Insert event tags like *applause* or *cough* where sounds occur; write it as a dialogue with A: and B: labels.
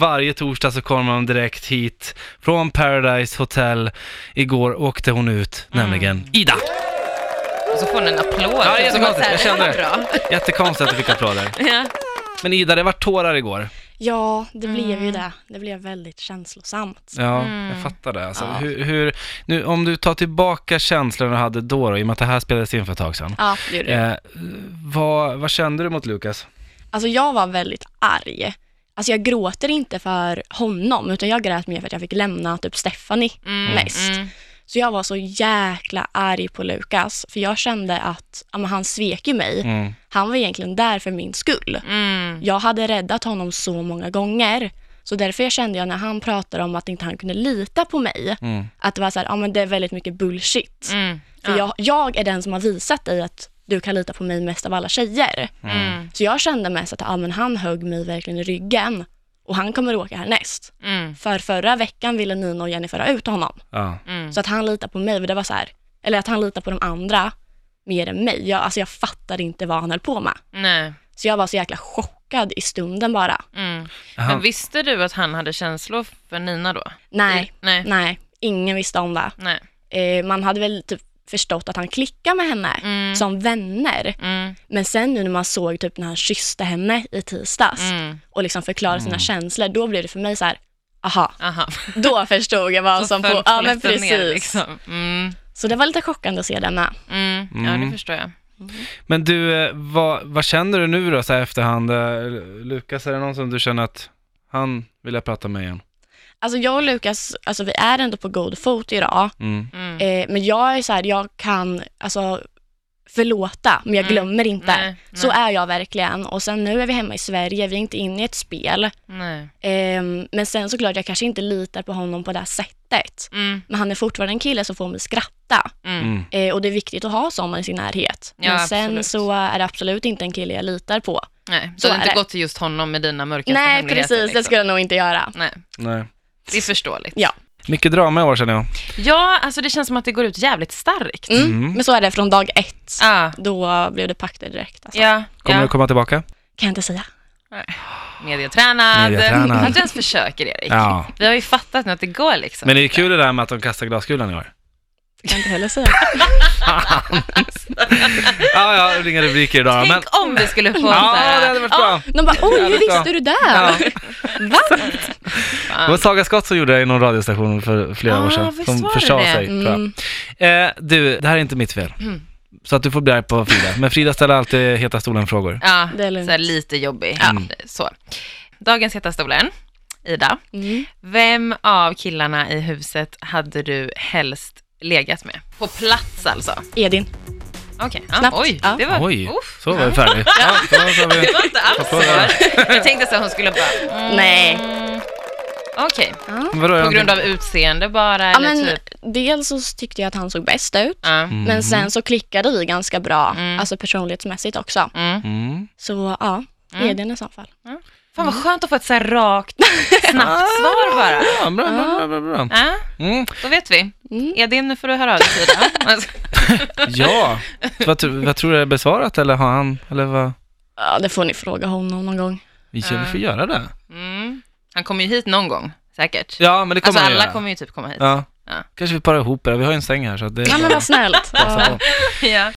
A: Varje torsdag så kommer hon direkt hit från Paradise Hotel. Igår åkte hon ut,
B: Mm.
A: nämligen Ida.
C: Och så får hon en applåd.
A: Ja,
B: typ,
C: Som att så
A: jättekonstigt.
C: här,
A: Jag kände
C: "Det var
A: det. Jättekonstigt att du fick
B: *laughs*
A: applåder.
C: bra." Ja.
A: Men Ida, det var tårar igår.
B: Ja, det blev ju det. Det blev väldigt känslosamt.
A: Ja, jag fattar det. Alltså,
B: Mm. Ja.
A: hur, hur, nu, om du tar tillbaka känslorna du hade då, då, i och med att det här spelades in för ett tag sedan.
B: Ja, det gjorde det.
A: Eh, vad, vad kände du mot Lukas?
B: Alltså jag var väldigt arg. Alltså jag gråter inte för honom, utan jag grät mer för att jag fick lämna typ Stephanie mest.
C: Mm.
B: Så jag var så jäkla arg på Lukas, för jag kände att ja, men han svek ju mig.
A: Mm.
B: Han var egentligen där för min skull.
C: Mm.
B: Jag hade räddat honom så många gånger, så därför jag kände jag när han pratade om att inte han kunde lita på mig,
A: Mm.
B: att det var så här, ja men det är väldigt mycket bullshit.
C: Mm.
B: För jag, jag är den som har visat dig att du kan lita på mig mest av alla tjejer.
C: Mm.
B: Så jag kände mest att ah, men han högg mig verkligen i ryggen och han kommer åka härnäst.
C: Mm.
B: För förra veckan ville Nina och Jennifer ha ut honom.
A: Ja.
C: Mm.
B: Så att han litar på mig, för det var så här, eller att han litar på de andra mer än mig. Jag, alltså jag fattade inte vad han höll på med.
C: Nej.
B: Så jag var så jäkla chockad i stunden bara.
C: Mm. Men
A: Han,
C: visste du att han hade känslor för Nina då?
B: Nej,
C: Nej. Mm, Nej.
B: nej, ingen visste om det.
C: Nej.
B: Eh, man hade väl typ förstått att han klickade med henne
C: Mm.
B: som vänner.
C: Mm.
B: Men sen nu när man såg typ när han kysste henne i tisdags
C: Mm.
B: och liksom förklarade sina känslor, då blev det för mig så här, aha, *laughs*
C: Aha.
B: då förstod jag vad som på... Alltså, Ja, men
C: polletten
B: precis.
C: ner, liksom. Mm.
B: Så det var lite chockande att se den med.
C: Mm. Ja, det
A: Mm.
C: förstår jag.
A: men du, eh, vad, vad känner du nu då så här efterhand? Eh, Lukas, är det någon som du känner att han vill jag prata med igen?
B: Alltså jag och Lukas, alltså vi är ändå på god fot idag,
A: Mm.
C: Mm.
B: eh, men jag är så här, jag kan alltså förlåta, men jag
C: Mm.
B: glömmer inte.
C: Nej,
B: Så
C: nej.
B: är jag verkligen. Och sen nu är vi hemma i Sverige, vi är inte inne i ett spel.
C: Nej.
B: Ehm, men sen såklart, jag kanske inte litar på honom på det här sättet.
C: Mm.
B: Men han är fortfarande en kille som får mig skratta.
C: Mm.
A: Mm.
B: Eh, och det är viktigt att ha sådana i sin närhet.
C: Ja,
B: men sen
C: absolut.
B: så är det absolut inte en kille jag litar på.
C: Nej. Du
B: Så
C: har
B: är
C: inte
B: det.
C: gått till just honom med dina mörkaste
B: Nej,
C: hemligheter. liksom.
B: precis. Det skulle jag nog inte göra.
C: Nej,
A: Nej.
C: det är förståeligt.
B: Ja.
A: Mycket drama i år känner jag.
C: Ja, alltså det känns som att det går ut jävligt starkt.
B: Mm.
A: Mm.
B: Men så är det från dag ett.
C: Ah,
B: Då blev det pakter direkt. Alltså.
C: ja,
A: Kommer
C: ja.
A: du komma tillbaka?
B: Kan jag
C: *laughs*
B: inte säga.
C: Medietränad.
A: Medietränad.
C: Att du ens försöker, Erik.
A: Ja.
C: Vi har ju fattat nu att det går liksom.
A: Men det är kul det där med att de kastar glaskulan i år.
B: Jag kan inte heller säga.
A: Ja, ja, det blir inga rubriker idag. Men...
C: Tänk om vi skulle få så
A: Ja,
C: här-
A: det hade varit bra.
B: De bara, oj, hur
A: Jävligt bra.
B: visste du det?
A: Ja.
B: Va?
A: Det var Saga Skott som gjorde det i någon radiostation för flera
C: Ah,
A: år sedan.
C: visst
A: Som
C: var det
A: försade
C: det?
A: sig, tror
B: Mm.
A: jag. Eh, du, det här är inte mitt fel.
C: Mm.
A: Så att du får bli arg på Frida. Men Frida ställer alltid Heta stolen-frågor.
C: Ja,
B: Det är lugnt.
C: så här lite jobbig. Ja.
A: Mm.
C: Så. Dagens Heta stolen, Ida.
B: Mm.
C: Vem av killarna i huset hade du helst legat med? På plats alltså?
B: Edin.
C: Okej, ja,
B: Snabbt.
C: oj,
B: Ja.
C: det var...
A: Oj,
C: Uff.
A: så var vi
C: *laughs*
A: färdiga. Ja, då tar vi-
C: Det var inte alls så.
A: Applåder.
C: Jag tänkte så att hon skulle bara... Mm,
B: Nej.
C: Okej,
A: Vadå, jag
C: på grund
A: inte-
C: av utseende bara
B: Ja,
C: eller
B: men,
C: typ...
B: dels så tyckte jag att han såg bäst ut.
C: Ja.
A: Mm.
B: Men sen så klickade vi ganska bra,
C: Mm.
B: alltså personlighetsmässigt också.
C: Mm.
A: Mm.
B: Så ja,
C: Mm.
B: Edin i så fall.
C: Fan vad
B: Mm.
C: skönt att få ett så här rakt,
B: *laughs*
C: snabbt svar bara.
A: Ja, bra, bra, bra, bra.
C: Ja,
A: Mm.
C: då vet vi.
B: Mm.
C: Edin, nu får du höra av dig Frida.
B: *laughs*
C: Alltså,
A: Ja, vad, tr- vad tror du är besvarat eller har han, eller vad?
B: Ja, det får ni fråga honom någon gång.
A: Ja, vi får göra det.
C: Mm. Han kommer ju hit någon gång, säkert.
A: Ja, men det kommer
C: Alltså
A: han
C: alla
A: göra.
C: kommer ju typ komma hit.
A: Ja.
C: Ja.
A: Kanske vi parar ihop det, vi har ju en säng här så att det
B: Ja, men *laughs* vad snällt. Ja.
A: Passa på.
C: Ja.